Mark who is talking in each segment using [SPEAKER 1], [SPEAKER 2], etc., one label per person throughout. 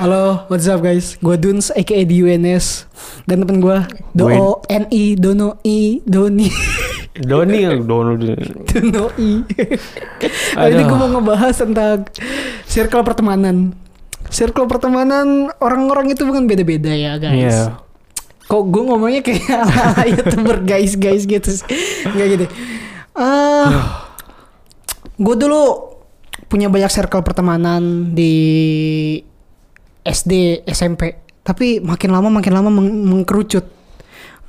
[SPEAKER 1] Halo, what's up guys? Gue Duns, aka DUNS Dan temen gue, Doo, N-I, Dono, I, Doni,
[SPEAKER 2] Doni Doni.
[SPEAKER 1] Dono, I Kali ini gue mau ngebahas tentang circle pertemanan Circle pertemanan, orang-orang itu bukan beda-beda ya guys
[SPEAKER 2] Iya.
[SPEAKER 1] Kok gue ngomongnya kayak ala-ala youtuber guys-guys gitu sih? Nggak gitu Ah, Gue dulu punya banyak circle pertemanan di SD, SMP. Tapi makin lama makin lama meng- mengkerucut.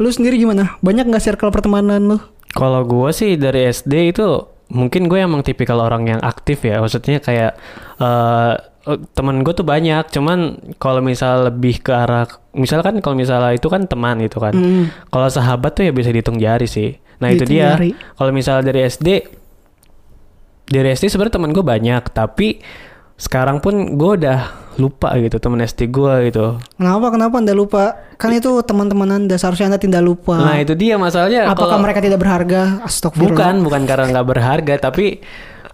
[SPEAKER 1] Lu sendiri gimana? Banyak nggak circle pertemanan lu?
[SPEAKER 2] Kalau gue sih dari SD itu mungkin gue emang tipikal orang yang aktif ya. Maksudnya kayak eh eh, teman gue tuh banyak. Cuman kalau misal lebih ke arah misalkan kalau misalnya itu kan teman gitu kan.
[SPEAKER 1] Mm.
[SPEAKER 2] Kalau sahabat tuh ya bisa dihitung jari sih. Nah itu
[SPEAKER 1] Dihitung
[SPEAKER 2] dia.
[SPEAKER 1] jari.
[SPEAKER 2] Kalau misalnya dari SD, dari SD sebenarnya teman gue banyak. Tapi sekarang pun gue udah lupa gitu teman SD gue gitu.
[SPEAKER 1] Kenapa? Kenapa anda lupa? Kan itu teman-teman anda seharusnya anda tidak lupa.
[SPEAKER 2] Nah itu dia masalahnya.
[SPEAKER 1] Apakah
[SPEAKER 2] kalau-
[SPEAKER 1] mereka tidak berharga? Astagfirullah.
[SPEAKER 2] Bukan, bukan karena nggak berharga, tapi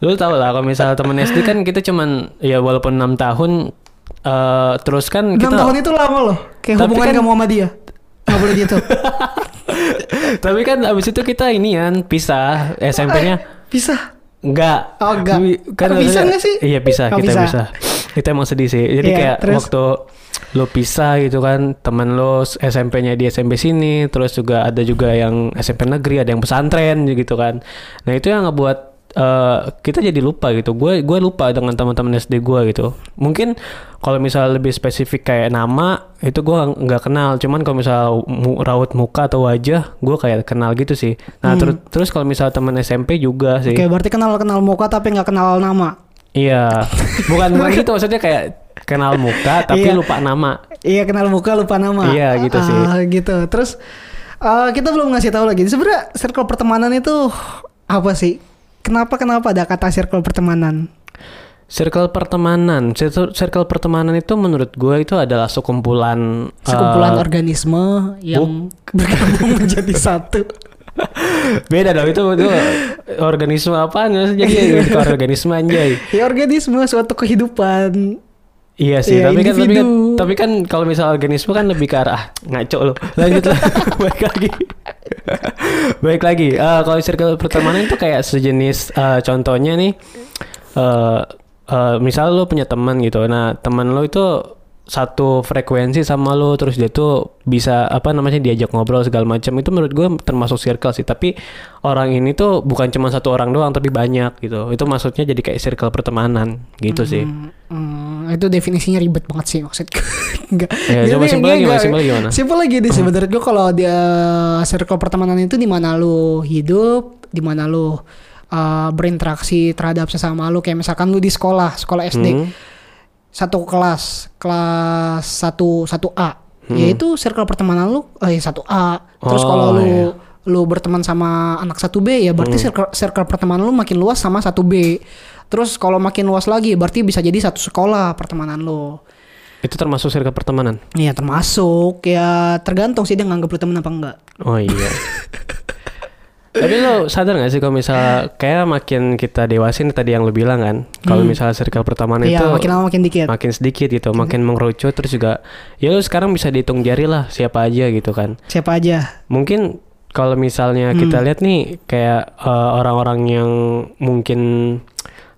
[SPEAKER 2] lu tau lah kalau misalnya temen SD kan kita cuman ya walaupun enam tahun eh terus kan
[SPEAKER 1] Enam
[SPEAKER 2] kita
[SPEAKER 1] tahun itu lama loh. Kayak
[SPEAKER 2] Tapi
[SPEAKER 1] hubungan
[SPEAKER 2] kan-
[SPEAKER 1] kamu sama dia. Gak boleh gitu.
[SPEAKER 2] tapi kan abis itu kita ini kan pisah SMP-nya
[SPEAKER 1] Eh, Bisa.
[SPEAKER 2] enggak
[SPEAKER 1] Oh, nggak.
[SPEAKER 2] kan
[SPEAKER 1] Tapi bisa
[SPEAKER 2] maksudnya-
[SPEAKER 1] nggak sih?
[SPEAKER 2] iya bisa
[SPEAKER 1] Oh,
[SPEAKER 2] kita
[SPEAKER 1] bisa.
[SPEAKER 2] bisa. kita emang sedih sih jadi
[SPEAKER 1] Iya,
[SPEAKER 2] kayak
[SPEAKER 1] terus?
[SPEAKER 2] waktu lo pisah gitu kan teman lo SMP-nya di SMP sini terus juga ada juga yang SMP negeri ada yang pesantren gitu kan nah itu yang ngebuat eh, kita jadi lupa gitu gue gue lupa dengan teman-teman SD gue gitu mungkin kalau misal lebih spesifik kayak nama itu gue nggak kenal cuman kalau misal mu- raut muka atau wajah gue kayak kenal gitu sih nah
[SPEAKER 1] Hmm.
[SPEAKER 2] terus terus kalau misal teman SMP juga sih
[SPEAKER 1] Oke, berarti kenal-kenal muka tapi nggak kenal nama.
[SPEAKER 2] Iya, bukan bukan gitu maksudnya kayak kenal muka tapi
[SPEAKER 1] Iya.
[SPEAKER 2] lupa nama.
[SPEAKER 1] Iya, kenal muka lupa nama.
[SPEAKER 2] Iya, gitu sih.
[SPEAKER 1] Ah, gitu. Terus eh, kita belum ngasih tahu lagi. Sebenarnya circle pertemanan itu apa sih? Kenapa kenapa ada kata circle pertemanan?
[SPEAKER 2] Circle pertemanan, Circle- circle pertemanan itu menurut gue itu adalah sekumpulan eh,
[SPEAKER 1] Sekumpulan organisme yang bergabung menjadi satu.
[SPEAKER 2] beda dong itu itu organisme apaan ya? Jadi itu organisme anjay.
[SPEAKER 1] Ya organisme suatu kehidupan.
[SPEAKER 2] Iya sih,
[SPEAKER 1] Iya,
[SPEAKER 2] tapi, kan, tapi kan
[SPEAKER 1] individu.
[SPEAKER 2] tapi kan kalau misal organisme kan lebih ke arah ah, ngaco lo. Lanjut lah, baik lagi. baik lagi. Eh, kalau circle pertemanan itu kayak sejenis eh, contohnya nih eh eh, misal lo punya teman gitu. Nah, teman lo itu satu frekuensi sama lo terus dia tuh bisa apa namanya diajak ngobrol segala macam itu menurut gue termasuk circle sih tapi orang ini tuh bukan cuma satu orang doang tapi banyak gitu itu maksudnya jadi kayak circle pertemanan gitu sih
[SPEAKER 1] Hmm, hmm, itu definisinya ribet banget sih maksud gue. Enggak.
[SPEAKER 2] Ya, coba simpel lagi, Mas. Simpel gimana? Hmm.
[SPEAKER 1] Simpel lagi deh sebenarnya gue kalau dia eh, circle pertemanan itu di mana lu hidup, di mana lu uh, berinteraksi terhadap sesama lu kayak misalkan lu di sekolah, sekolah SD.
[SPEAKER 2] Hmm.
[SPEAKER 1] Satu kelas, kelas 1 1A. Yaitu Ya circle pertemanan lu eh 1A. Terus
[SPEAKER 2] Hmm. Oh,
[SPEAKER 1] kalau lu
[SPEAKER 2] iya. Hmm.
[SPEAKER 1] lu berteman sama anak 1B ya berarti circle, circle pertemanan lu makin luas sama 1B. Terus kalau makin luas lagi berarti bisa jadi satu sekolah pertemanan lu.
[SPEAKER 2] Itu termasuk circle pertemanan?
[SPEAKER 1] Iya termasuk ya tergantung sih dia nganggep lu temen apa enggak.
[SPEAKER 2] Oh iya. Tapi lo sadar gak sih kalau misalnya kayak makin kita dewasa nih tadi yang lo bilang kan, kalau misalnya circle pertemanan
[SPEAKER 1] Hmm. Iya
[SPEAKER 2] Kan itu
[SPEAKER 1] makin lama makin Hmm. dikit.
[SPEAKER 2] makin sedikit gitu, makin mengerucut terus juga ya lo sekarang bisa dihitung jari lah siapa aja gitu kan.
[SPEAKER 1] Siapa aja?
[SPEAKER 2] Mungkin kalau misalnya kita lihat nih kayak eh, orang-orang yang mungkin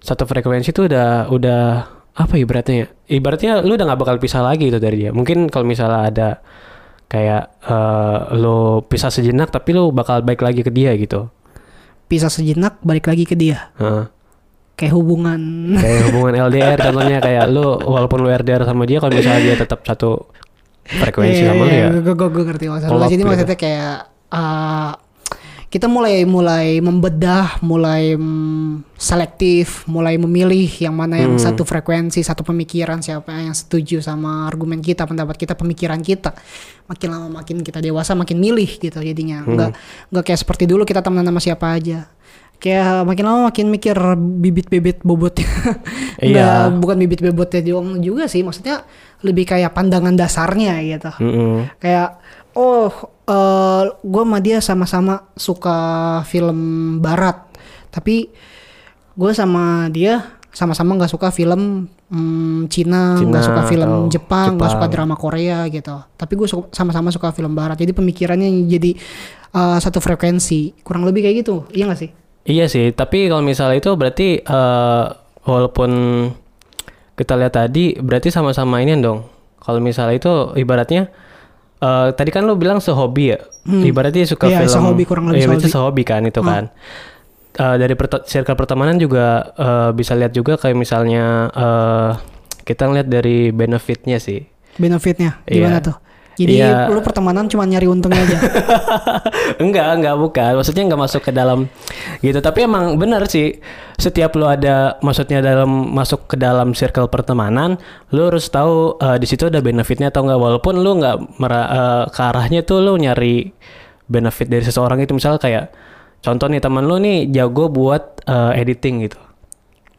[SPEAKER 2] satu frekuensi itu udah udah apa ibaratnya ya? Ibaratnya lu udah nggak bakal pisah lagi itu dari dia. Mungkin kalau misalnya ada kayak eh, lu pisah sejenak tapi lu bakal baik lagi ke dia gitu.
[SPEAKER 1] Pisah sejenak balik lagi ke dia.
[SPEAKER 2] Heeh.
[SPEAKER 1] Kayak hubungan.
[SPEAKER 2] kayak hubungan LDR contohnya kayak lu walaupun lu LDR sama dia kalau misalnya dia tetap satu
[SPEAKER 1] Iya,
[SPEAKER 2] frekuensi sama lu ya.
[SPEAKER 1] Gue gue ngerti maksud lu.
[SPEAKER 2] Kolab
[SPEAKER 1] Jadi
[SPEAKER 2] gitu.
[SPEAKER 1] maksudnya kayak uh, kita mulai mulai membedah, mulai mm, selektif, mulai memilih yang mana
[SPEAKER 2] Hmm.
[SPEAKER 1] yang satu frekuensi, satu pemikiran, siapa yang setuju sama argumen kita, pendapat kita, pemikiran kita. Makin lama makin kita dewasa, makin milih gitu jadinya.
[SPEAKER 2] Hmm.
[SPEAKER 1] Enggak enggak kayak seperti dulu kita temenan sama siapa aja. Kayak makin lama makin mikir bibit-bibit bobotnya.
[SPEAKER 2] Iya.
[SPEAKER 1] Enggak, bukan bibit bobotnya doang juga sih, maksudnya lebih kayak pandangan dasarnya gitu
[SPEAKER 2] Mm-mm.
[SPEAKER 1] kayak oh eh gue sama dia sama-sama suka film barat tapi gue sama dia sama-sama nggak suka film mm, Cina,
[SPEAKER 2] Cina
[SPEAKER 1] nggak suka film
[SPEAKER 2] atau
[SPEAKER 1] Jepang, nggak suka
[SPEAKER 2] Jepang.
[SPEAKER 1] drama Korea gitu. Tapi gue suka- sama-sama suka film Barat. Jadi pemikirannya jadi eh, satu frekuensi, kurang lebih kayak gitu. Iya nggak sih?
[SPEAKER 2] Iya sih, tapi kalau misalnya itu berarti eh, walaupun kita lihat tadi berarti sama-sama ini dong. Kalau misalnya itu ibaratnya eh, tadi kan lu bilang sehobi ya. Ibaratnya suka
[SPEAKER 1] Iya,
[SPEAKER 2] film.
[SPEAKER 1] sehobi, kurang lebih
[SPEAKER 2] Iya, berarti
[SPEAKER 1] sehobi. Hmm.
[SPEAKER 2] sehobi kan itu kan. Eh, dari perta- circle pertemanan juga eh, bisa lihat juga kayak misalnya eh, kita ngeliat dari benefitnya sih.
[SPEAKER 1] Benefitnya gimana
[SPEAKER 2] Iya.
[SPEAKER 1] tuh? Jadi
[SPEAKER 2] Iya.
[SPEAKER 1] lu pertemanan cuma nyari untungnya aja.
[SPEAKER 2] enggak, enggak bukan. Maksudnya enggak masuk ke dalam gitu. Tapi emang benar sih. Setiap lu ada maksudnya dalam masuk ke dalam circle pertemanan, lu harus tahu eh, di situ ada benefitnya atau enggak walaupun lu enggak mera- eh, ke arahnya tuh lu nyari benefit dari seseorang itu misalnya kayak contoh nih teman lu nih jago buat eh, editing gitu.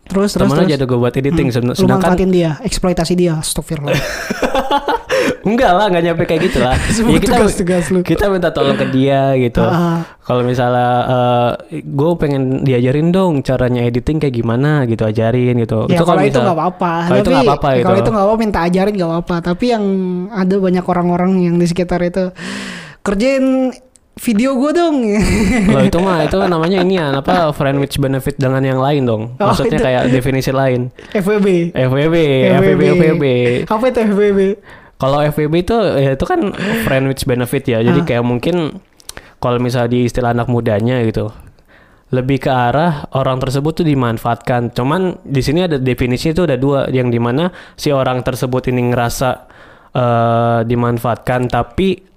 [SPEAKER 1] Terus terus
[SPEAKER 2] Temen lu
[SPEAKER 1] terus.
[SPEAKER 2] jago buat editing kan
[SPEAKER 1] Hmm,
[SPEAKER 2] seben-
[SPEAKER 1] lu
[SPEAKER 2] sedangkan
[SPEAKER 1] manfaatin dia, eksploitasi dia, astagfirullah.
[SPEAKER 2] enggak lah, enggak nyampe kayak gitu lah.
[SPEAKER 1] Semua
[SPEAKER 2] Ya, kita-
[SPEAKER 1] tugas-tugas lu.
[SPEAKER 2] kita minta tolong ke dia gitu.
[SPEAKER 1] Ah.
[SPEAKER 2] Kalau misalnya gue pengen diajarin dong caranya editing kayak gimana gitu ajarin gitu.
[SPEAKER 1] Ya kalau itu
[SPEAKER 2] misal-
[SPEAKER 1] nggak apa-apa.
[SPEAKER 2] Kalau itu
[SPEAKER 1] Tapi
[SPEAKER 2] nggak apa-apa gitu.
[SPEAKER 1] Kalau itu nggak apa minta ajarin nggak apa-apa. Tapi yang ada banyak orang-orang yang di sekitar itu kerjain video gue dong.
[SPEAKER 2] Loh, itu mah itu namanya ini ya apa friend with benefit dengan yang lain dong.
[SPEAKER 1] Oh,
[SPEAKER 2] Maksudnya
[SPEAKER 1] itu.
[SPEAKER 2] kayak definisi lain.
[SPEAKER 1] FWB.
[SPEAKER 2] FWB, FWB, FWB.
[SPEAKER 1] Apa itu FWB?
[SPEAKER 2] Kalau FWB itu ya itu kan friend with benefit ya. Jadi kayak mungkin kalau misalnya di istilah anak mudanya gitu lebih ke arah orang tersebut tuh dimanfaatkan. Cuman di sini ada definisi itu ada dua yang dimana si orang tersebut ini ngerasa eh, dimanfaatkan tapi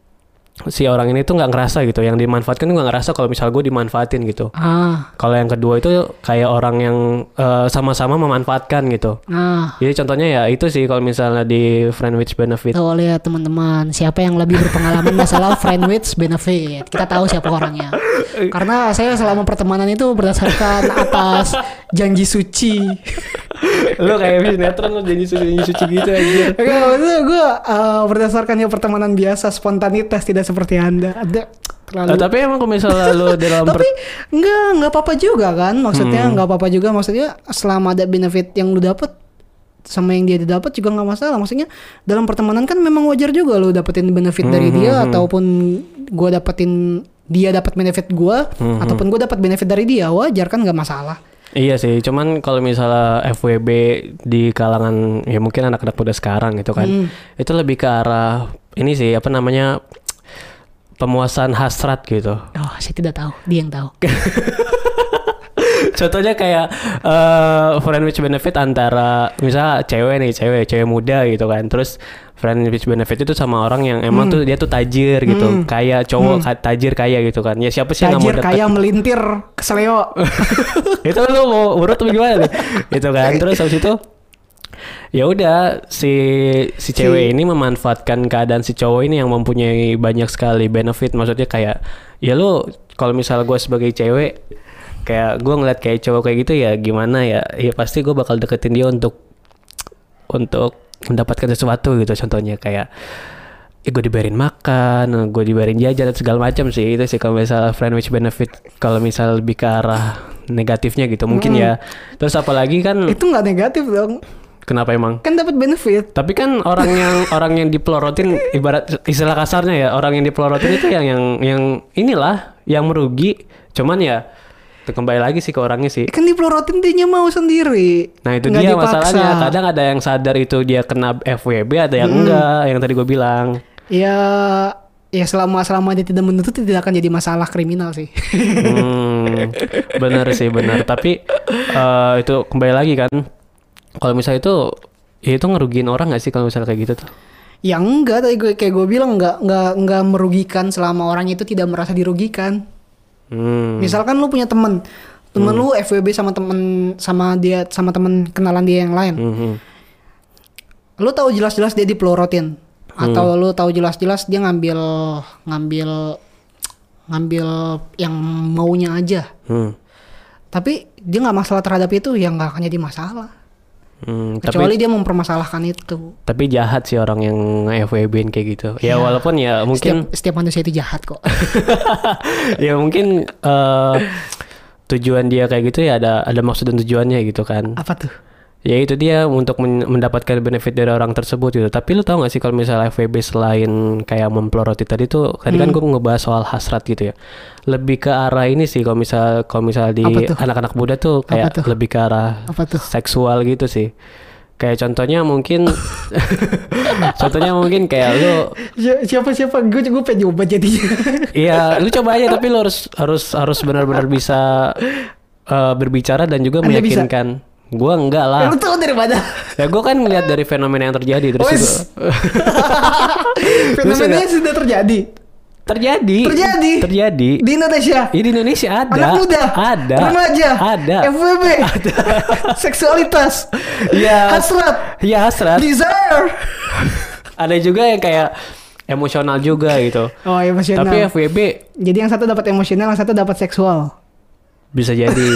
[SPEAKER 2] si orang ini tuh nggak ngerasa gitu. Yang dimanfaatkan tuh nggak ngerasa kalau misal gue dimanfaatin gitu.
[SPEAKER 1] Ah,
[SPEAKER 2] Kalau yang kedua itu kayak orang yang eh, sama-sama memanfaatkan gitu.
[SPEAKER 1] nah.
[SPEAKER 2] Jadi contohnya ya itu sih kalau misalnya di friend with benefit.
[SPEAKER 1] Tuh lihat ya, teman-teman, siapa yang lebih berpengalaman masalah friend with benefit. Kita tahu siapa orangnya. Karena saya selama pertemanan itu berdasarkan atas janji suci.
[SPEAKER 2] lu kayak sinetron lu janji suci janji suci gitu aja
[SPEAKER 1] Oke, maksudnya gue eh, berdasarkan ya pertemanan biasa, spontanitas tidak seperti anda. Ada terlalu.
[SPEAKER 2] Nah, tapi emang kalau misalnya lu dalam per-
[SPEAKER 1] Tapi nggak nggak apa-apa juga kan,
[SPEAKER 2] Hmm.
[SPEAKER 1] maksudnya nggak apa-apa juga, maksudnya selama ada benefit yang lu dapet sama yang dia dapat juga nggak masalah, maksudnya dalam pertemanan kan memang wajar juga lu dapetin benefit dari
[SPEAKER 2] Hmm,
[SPEAKER 1] dia ataupun gue dapetin dia dapat benefit gue
[SPEAKER 2] Hmm,
[SPEAKER 1] ataupun gue dapat benefit dari dia wajar kan nggak masalah.
[SPEAKER 2] iya sih cuman kalau misalnya FWB di kalangan ya mungkin anak-anak muda sekarang gitu kan
[SPEAKER 1] Hmm.
[SPEAKER 2] itu lebih ke arah ini sih apa namanya pemuasan hasrat gitu
[SPEAKER 1] Oh, saya tidak tahu, dia yang tahu.
[SPEAKER 2] contohnya kayak eh, friend with benefit antara misalnya cewek nih cewek cewek muda gitu kan terus friend with benefit itu sama orang yang emang
[SPEAKER 1] Hmm.
[SPEAKER 2] tuh dia tuh tajir gitu kaya cowok ka- tajir kaya gitu kan ya siapa sih yang nggak mau
[SPEAKER 1] Tajir
[SPEAKER 2] deket
[SPEAKER 1] kaya melintir kesleo.
[SPEAKER 2] itu lu mau urut apa gimana nih gitu kan terus habis itu ya udah si si cewek ini memanfaatkan keadaan si cowok ini yang mempunyai banyak sekali benefit maksudnya kayak ya lu kalau misal gue sebagai cewek kayak gue ngeliat kayak cowok kayak gitu ya gimana ya ya pasti gue bakal deketin dia untuk untuk mendapatkan sesuatu gitu contohnya kayak eh, gue dibayarin makan, gue dibayarin jajan dan segala macam sih itu sih kalau misalnya friend with benefit kalau misal lebih ke arah negatifnya gitu mungkin ya terus apalagi kan
[SPEAKER 1] Itu nggak negatif dong.
[SPEAKER 2] kenapa emang
[SPEAKER 1] kan dapat benefit
[SPEAKER 2] tapi kan orang yang orang yang dipelorotin ibarat istilah kasarnya ya orang yang dipelorotin itu yang yang yang inilah yang merugi cuman ya kembali lagi sih ke orangnya sih
[SPEAKER 1] Eh, kan dipelorotin dia mau sendiri
[SPEAKER 2] Nah itu
[SPEAKER 1] Nggak
[SPEAKER 2] dia
[SPEAKER 1] dipaksa.
[SPEAKER 2] masalahnya. Kadang ada yang sadar itu dia kena FWB, ada yang enggak. Yang tadi gue bilang.
[SPEAKER 1] ya ya selama selama dia tidak menuntut tidak akan jadi masalah kriminal sih
[SPEAKER 2] Hmm, bener sih bener. Tapi eh, itu kembali lagi kan. Kalau misalnya itu ya itu ngerugiin orang nggak sih kalau misalnya kayak gitu tuh?
[SPEAKER 1] ya enggak tadi gue kayak gue bilang enggak enggak enggak merugikan selama orang itu tidak merasa dirugikan
[SPEAKER 2] Hmm.
[SPEAKER 1] misalkan lu punya temen temen lu FWB sama temen sama dia sama temen kenalan dia yang lain
[SPEAKER 2] Mhm.
[SPEAKER 1] lu tahu jelas-jelas dia dipelorotin
[SPEAKER 2] Hmm.
[SPEAKER 1] atau lu tahu jelas-jelas dia ngambil ngambil ngambil yang maunya aja
[SPEAKER 2] Hmm.
[SPEAKER 1] tapi dia nggak masalah terhadap itu ya nggak akan jadi masalah
[SPEAKER 2] Hmm, tapi
[SPEAKER 1] kecuali dia mempermasalahkan itu
[SPEAKER 2] tapi jahat sih orang yang FWB-in kayak gitu. Ya walaupun ya
[SPEAKER 1] Iya.
[SPEAKER 2] mungkin
[SPEAKER 1] setiap, setiap manusia itu jahat kok
[SPEAKER 2] Ah. ya mungkin eh, tujuan dia kayak gitu ya ada ada maksud dan tujuannya gitu kan.
[SPEAKER 1] apa tuh
[SPEAKER 2] ya itu dia untuk men- mendapatkan benefit dari orang tersebut gitu tapi lu tahu nggak sih kalau misalnya FWB selain kayak memploroti tadi tuh tadi
[SPEAKER 1] Hmm.
[SPEAKER 2] kan gue ngebahas soal hasrat gitu ya lebih ke arah ini sih kalau misal kalau misal di
[SPEAKER 1] Apa tuh?
[SPEAKER 2] anak-anak muda tuh kayak
[SPEAKER 1] tuh?
[SPEAKER 2] lebih ke arah
[SPEAKER 1] Apa tuh?
[SPEAKER 2] seksual gitu sih kayak contohnya mungkin contohnya mungkin kayak lu
[SPEAKER 1] Siapa siapa gue gue pengen nyoba jadinya.
[SPEAKER 2] Iya, lu coba aja tapi lu harus harus harus benar-benar bisa eh, berbicara dan juga
[SPEAKER 1] Anda bisa? Eh,
[SPEAKER 2] meyakinkan. Gua enggak lah.
[SPEAKER 1] Lu tahu dari mana?
[SPEAKER 2] Ya gua kan ngeliat dari fenomena yang terjadi terus
[SPEAKER 1] Wes.
[SPEAKER 2] itu
[SPEAKER 1] Fenomenanya
[SPEAKER 2] enggak?
[SPEAKER 1] sudah terjadi.
[SPEAKER 2] terjadi.
[SPEAKER 1] Terjadi.
[SPEAKER 2] Terjadi.
[SPEAKER 1] Di Indonesia.
[SPEAKER 2] Ya, di Indonesia ada.
[SPEAKER 1] Anak muda.
[SPEAKER 2] Ada.
[SPEAKER 1] Remaja.
[SPEAKER 2] Ada.
[SPEAKER 1] FWB. Ada. Seksualitas.
[SPEAKER 2] Iya.
[SPEAKER 1] Hasrat.
[SPEAKER 2] Iya hasrat.
[SPEAKER 1] Desire.
[SPEAKER 2] Ada juga yang kayak emosional juga gitu.
[SPEAKER 1] Oh, emosional.
[SPEAKER 2] Tapi FWB
[SPEAKER 1] Jadi yang satu dapat emosional, yang satu dapat seksual.
[SPEAKER 2] bisa jadi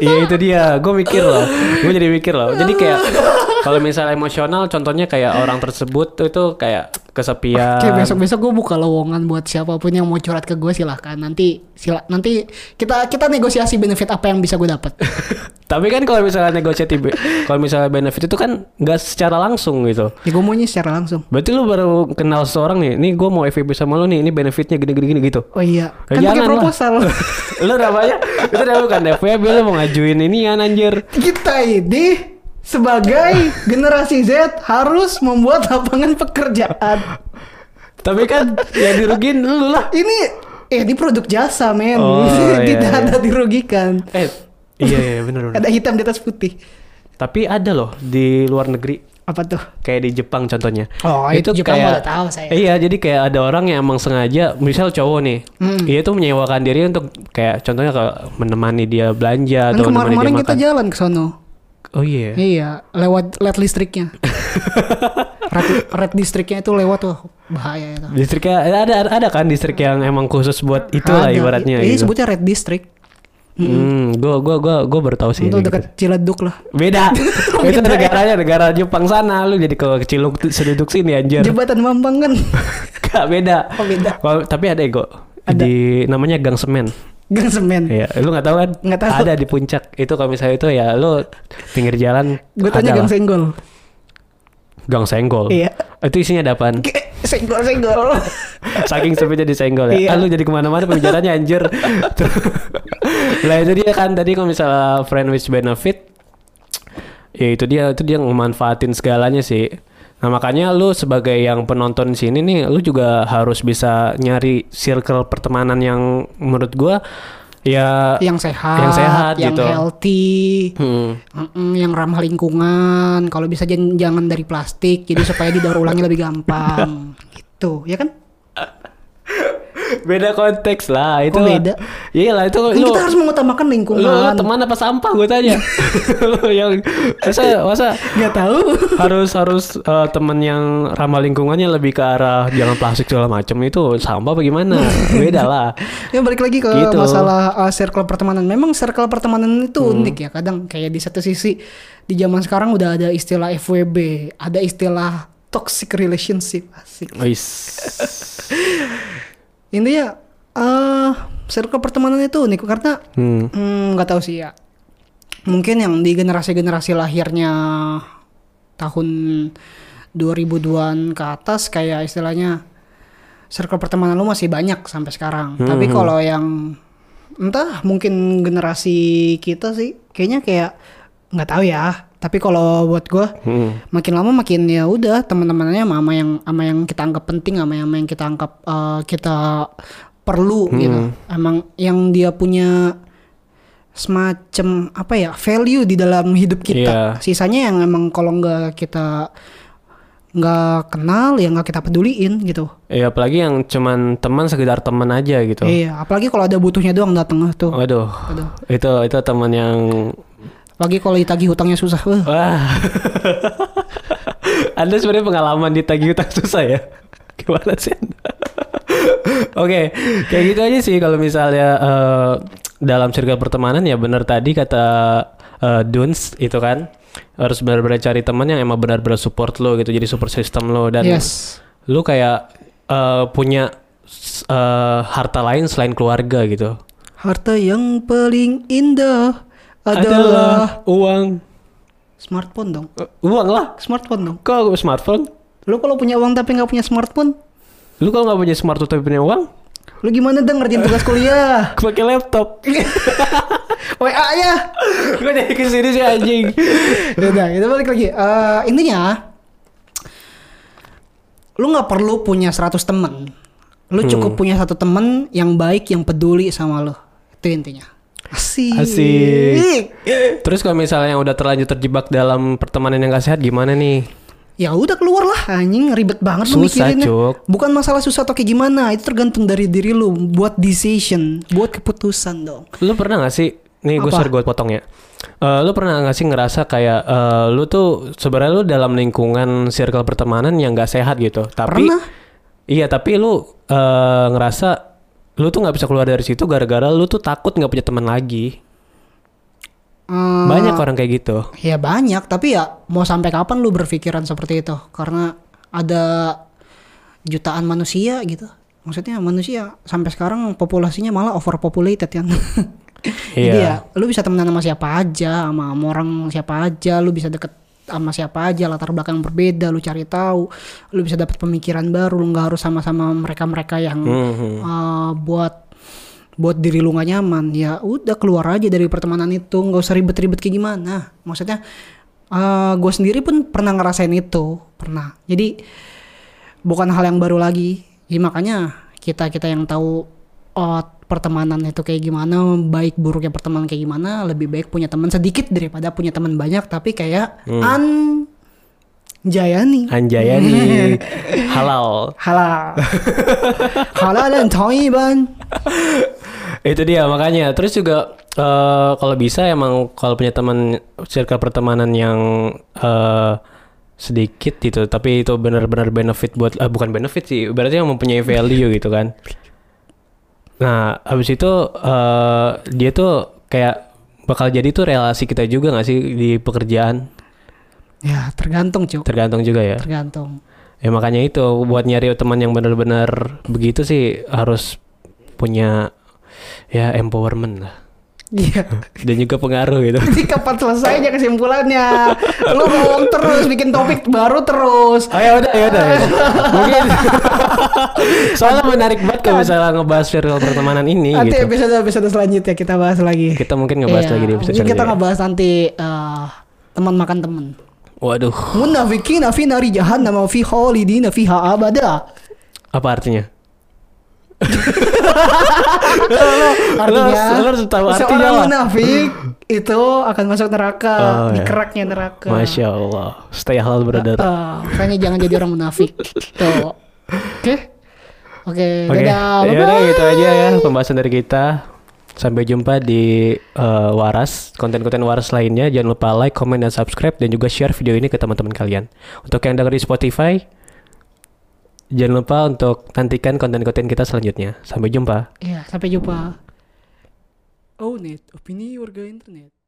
[SPEAKER 2] Iya itu dia, gue mikir loh, gue jadi mikir loh. Jadi kayak kalau misalnya emosional, contohnya kayak orang tersebut tuh itu kayak kesepian.
[SPEAKER 1] Oke, besok-besok gue buka lowongan buat siapapun yang mau curhat ke gue silahkan. Nanti sila, nanti kita kita negosiasi benefit apa yang bisa gue dapat.
[SPEAKER 2] Tapi kan kalau misalnya negosiasi, kalau misalnya benefit itu kan nggak secara langsung gitu.
[SPEAKER 1] ya gue maunya secara langsung.
[SPEAKER 2] Berarti lu baru kenal seseorang nih, nih gue mau FVB sama lu nih, ini benefitnya gini-gini gitu.
[SPEAKER 1] Oh iya,
[SPEAKER 2] Ya
[SPEAKER 1] kan pakai
[SPEAKER 2] jangan lah.
[SPEAKER 1] proposal.
[SPEAKER 2] lu namanya, itu udah bukan FVB, lu mau ngajuin ini ya anjir.
[SPEAKER 1] kita ini sebagai generasi Z harus membuat lapangan pekerjaan.
[SPEAKER 2] Tapi kan yang dirugin lu lah.
[SPEAKER 1] Ini eh di produk jasa men,
[SPEAKER 2] Oh, iya,
[SPEAKER 1] tidak
[SPEAKER 2] iya.
[SPEAKER 1] ada dirugikan.
[SPEAKER 2] Eh, iya iya bener bener.
[SPEAKER 1] Ada hitam di atas putih.
[SPEAKER 2] Tapi ada loh di luar negeri
[SPEAKER 1] Apa tuh?
[SPEAKER 2] kayak di Jepang contohnya.
[SPEAKER 1] Oh, itu Jepang udah tahu saya.
[SPEAKER 2] Iya, jadi kayak ada orang yang emang sengaja, misal cowok nih,
[SPEAKER 1] Hmm.
[SPEAKER 2] dia tuh menyewakan diri untuk kayak contohnya kalau menemani dia
[SPEAKER 1] Kan
[SPEAKER 2] belanja atau menemani
[SPEAKER 1] kemarin-kemarin
[SPEAKER 2] dia
[SPEAKER 1] kita
[SPEAKER 2] makan.
[SPEAKER 1] jalan ke sono.
[SPEAKER 2] oh iya.
[SPEAKER 1] Iya, lewat led listriknya. red, red listriknya itu lewat tuh bahaya itu.
[SPEAKER 2] Distriknya ada ada- ada kan distrik yang emang khusus buat itu lah
[SPEAKER 1] Ada.
[SPEAKER 2] ibaratnya
[SPEAKER 1] Iya,
[SPEAKER 2] gitu.
[SPEAKER 1] sebutnya red district.
[SPEAKER 2] Hmm, gua gua gua gua baru tahu sih.
[SPEAKER 1] Itu
[SPEAKER 2] ini gitu.
[SPEAKER 1] dekat Ciledug lah.
[SPEAKER 2] Beda. itu negaranya negara Jepang sana, lu jadi ke kecil seduduk sini anjir.
[SPEAKER 1] Jembatan Bambang kan.
[SPEAKER 2] Gak beda.
[SPEAKER 1] Oh, beda.
[SPEAKER 2] Wah, tapi ada ego. Di namanya Gang Semen.
[SPEAKER 1] Gang Kan semen.
[SPEAKER 2] Iya, lu nggak tahu kan?
[SPEAKER 1] Nggak tahu.
[SPEAKER 2] Ada di puncak. Itu kalau misalnya itu ya lu pinggir jalan.
[SPEAKER 1] Gue tanya
[SPEAKER 2] ada
[SPEAKER 1] gang
[SPEAKER 2] lah.
[SPEAKER 1] senggol.
[SPEAKER 2] Gang senggol.
[SPEAKER 1] Iya.
[SPEAKER 2] Itu isinya ada apaan?
[SPEAKER 1] Ke- Senggol senggol.
[SPEAKER 2] Saking sepinya di senggol ya.
[SPEAKER 1] Iya.
[SPEAKER 2] Ah, lu jadi kemana-mana pembicaranya anjir. Tuh. lah itu dia kan tadi kalau misalnya friend with benefit ya itu dia itu dia memanfaatin segalanya sih. Nah makanya lu sebagai yang penonton sini nih lu juga harus bisa nyari circle pertemanan yang menurut gua ya
[SPEAKER 1] yang sehat,
[SPEAKER 2] Yang sehat
[SPEAKER 1] yang
[SPEAKER 2] gitu.
[SPEAKER 1] healthy,
[SPEAKER 2] Hmm.
[SPEAKER 1] mm-mm, yang ramah lingkungan. Kalau bisa jangan, jangan dari plastik, jadi supaya didaur ulangnya lebih gampang. gitu, ya kan?
[SPEAKER 2] beda konteks lah itu
[SPEAKER 1] Oh, beda?
[SPEAKER 2] iya lah itu
[SPEAKER 1] Kan
[SPEAKER 2] lu,
[SPEAKER 1] kita harus mengutamakan
[SPEAKER 2] lu, lu
[SPEAKER 1] lingkungan.
[SPEAKER 2] teman apa sampah gue tanya Lu yang masa masa
[SPEAKER 1] Gak tahu.
[SPEAKER 2] harus harus eh, teman yang ramah lingkungannya lebih ke arah jangan plastik segala macem itu sampah bagaimana beda lah
[SPEAKER 1] Ya balik lagi ke
[SPEAKER 2] Gitu.
[SPEAKER 1] masalah uh, circle pertemanan. Memang circle pertemanan itu unik ya. Kadang kayak di satu sisi di zaman sekarang udah ada istilah FWB, ada istilah toxic relationship. Asik.
[SPEAKER 2] Wis.
[SPEAKER 1] Intinya eh circle pertemanan itu unik karena
[SPEAKER 2] hmm.
[SPEAKER 1] Hmm, nggak tahu sih ya. Mungkin yang di generasi-generasi lahirnya tahun 2002-an ke atas kayak istilahnya circle pertemanan lu masih banyak sampai sekarang. Tapi kalau yang entah mungkin generasi kita sih kayaknya kayak nggak tahu ya. Tapi kalau buat gua
[SPEAKER 2] Hmm.
[SPEAKER 1] makin lama makin ya udah teman-temannya sama sama yang sama yang kita anggap penting sama yang, sama yang kita anggap eh, kita perlu
[SPEAKER 2] Hmm.
[SPEAKER 1] gitu emang yang dia punya semacam apa ya value di dalam hidup kita
[SPEAKER 2] Iya.
[SPEAKER 1] sisanya yang emang kalau nggak kita nggak kenal ya nggak kita peduliin gitu
[SPEAKER 2] ya apalagi yang cuman teman sekedar teman aja gitu
[SPEAKER 1] iya apalagi kalau ada butuhnya doang dateng ah, tuh
[SPEAKER 2] waduh
[SPEAKER 1] Aduh.
[SPEAKER 2] itu itu teman yang
[SPEAKER 1] apalagi kalau ditagih hutangnya susah eh. wah.
[SPEAKER 2] wah anda sebenarnya pengalaman ditagih utang susah ya gimana sih Anda? Oke, kayak gitu aja sih kalau misalnya eh, dalam circle pertemanan ya benar tadi kata eh, Duns itu kan harus benar-benar cari teman yang emang benar-benar support lo gitu, jadi support system lo dan
[SPEAKER 1] yes
[SPEAKER 2] lu kayak eh, punya s- eh, harta lain selain keluarga gitu.
[SPEAKER 1] harta yang paling indah adalah
[SPEAKER 2] Adalah uang
[SPEAKER 1] Smartphone dong.
[SPEAKER 2] Eh, Uang lah.
[SPEAKER 1] Smartphone dong.
[SPEAKER 2] Kok smartphone?
[SPEAKER 1] Lu kalau punya uang tapi nggak punya smartphone,
[SPEAKER 2] Lu kalau nggak punya smartphone tapi punya uang,
[SPEAKER 1] lu gimana dong ngerjain tugas kuliah?
[SPEAKER 2] pakai laptop.
[SPEAKER 1] WA ya.
[SPEAKER 2] Gue jadi kesini sih anjing.
[SPEAKER 1] Udah, kita balik lagi. Eh, intinya lu nggak perlu punya 100 temen. Lu
[SPEAKER 2] Hmm.
[SPEAKER 1] cukup punya satu temen yang baik, yang peduli sama lu. Itu intinya. Asik.
[SPEAKER 2] Asik. Terus kalau misalnya udah terlanjur terjebak dalam pertemanan yang gak sehat gimana nih?
[SPEAKER 1] Ya udah keluar lah anjing ribet banget lu
[SPEAKER 2] Susah,
[SPEAKER 1] mikirinnya.
[SPEAKER 2] Cuk.
[SPEAKER 1] Bukan masalah susah atau kayak gimana, itu tergantung dari diri lu buat decision, buat keputusan dong.
[SPEAKER 2] Lu pernah gak sih? Nih gue
[SPEAKER 1] Apa?
[SPEAKER 2] sorry gue potong ya. Eh, lu pernah gak sih ngerasa kayak eh, lu tuh sebenarnya lu dalam lingkungan circle pertemanan yang gak sehat gitu. Tapi
[SPEAKER 1] Pernah.
[SPEAKER 2] Iya tapi lu eh, ngerasa lu tuh nggak bisa keluar dari situ gara-gara lu tuh takut nggak punya teman lagi.
[SPEAKER 1] Eh,
[SPEAKER 2] Banyak orang kayak gitu.
[SPEAKER 1] Ya banyak, tapi ya mau sampai kapan lu berpikiran seperti itu? Karena ada jutaan manusia gitu. Maksudnya manusia sampai sekarang populasinya malah overpopulated kan. Jadi
[SPEAKER 2] Iya.
[SPEAKER 1] ya lu bisa temenan sama siapa aja, sama, sama orang siapa aja, lu bisa deket sama siapa aja, latar belakang berbeda, lu cari tahu, lu bisa dapat pemikiran baru, lu nggak harus sama-sama mereka-mereka yang
[SPEAKER 2] Mhm.
[SPEAKER 1] Uh, buat buat diri lu gak nyaman ya udah keluar aja dari pertemanan itu nggak usah ribet-ribet kayak gimana maksudnya gue sendiri pun pernah ngerasain itu pernah jadi bukan hal yang baru lagi ya, makanya kita kita yang tahu oh, pertemanan itu kayak gimana baik buruknya pertemanan kayak gimana lebih baik punya teman sedikit daripada punya teman banyak tapi kayak anjayani
[SPEAKER 2] Anjaya nih halal.
[SPEAKER 1] halal halal dan thayyiban.
[SPEAKER 2] Itu dia makanya. Terus juga eh, kalau bisa emang kalau punya teman circle pertemanan yang eh, sedikit gitu, tapi itu benar-benar benefit buat eh, bukan benefit sih, berarti yang mempunyai value gitu kan. Nah, habis itu eh, dia tuh kayak bakal jadi tuh relasi kita juga nggak sih di pekerjaan?
[SPEAKER 1] Ya, tergantung, Cuk.
[SPEAKER 2] Tergantung juga ya.
[SPEAKER 1] Tergantung.
[SPEAKER 2] Ya makanya itu buat nyari teman yang benar-benar begitu sih harus punya ya empowerment lah.
[SPEAKER 1] Iya.
[SPEAKER 2] dan juga pengaruh gitu.
[SPEAKER 1] Jadi kapan selesainya kesimpulannya? Lu ngomong terus, bikin topik baru terus.
[SPEAKER 2] Ayo udah, ya udah. Mungkin soalnya menarik banget kalau misalnya ngebahas viral pertemanan ini
[SPEAKER 1] Nanti
[SPEAKER 2] gitu.
[SPEAKER 1] episode episode selanjutnya kita bahas lagi.
[SPEAKER 2] Kita mungkin ngebahas
[SPEAKER 1] Iya,
[SPEAKER 2] lagi di episode ya.
[SPEAKER 1] mungkin kita
[SPEAKER 2] selanjutnya.
[SPEAKER 1] ngebahas nanti eh, teman makan teman.
[SPEAKER 2] Waduh,
[SPEAKER 1] Munafiqina fi nari jahannam wa fi khalidina fiha abada.
[SPEAKER 2] apa artinya? Lu
[SPEAKER 1] Artinya,
[SPEAKER 2] harus- lu harus tahu artinya
[SPEAKER 1] seorang
[SPEAKER 2] lah.
[SPEAKER 1] munafik itu akan masuk neraka,
[SPEAKER 2] Oh,
[SPEAKER 1] di
[SPEAKER 2] iya.
[SPEAKER 1] keraknya neraka.
[SPEAKER 2] Masya Allah, stay halal brother.
[SPEAKER 1] Eh, makanya jangan jadi orang munafik. Tuh. Oke. Oke,
[SPEAKER 2] Oke,
[SPEAKER 1] dadah.
[SPEAKER 2] ya udah
[SPEAKER 1] Bye-bye.
[SPEAKER 2] gitu aja ya pembahasan dari kita. Sampai jumpa di eh, Waras, konten-konten Waras lainnya. Jangan lupa like, komen, dan subscribe dan juga share video ini ke teman-teman kalian. Untuk yang denger di Spotify, jangan lupa untuk nantikan konten-konten kita selanjutnya. Iya, Sampai jumpa.
[SPEAKER 1] Ya, sampai jumpa. Oh, net opini warga internet.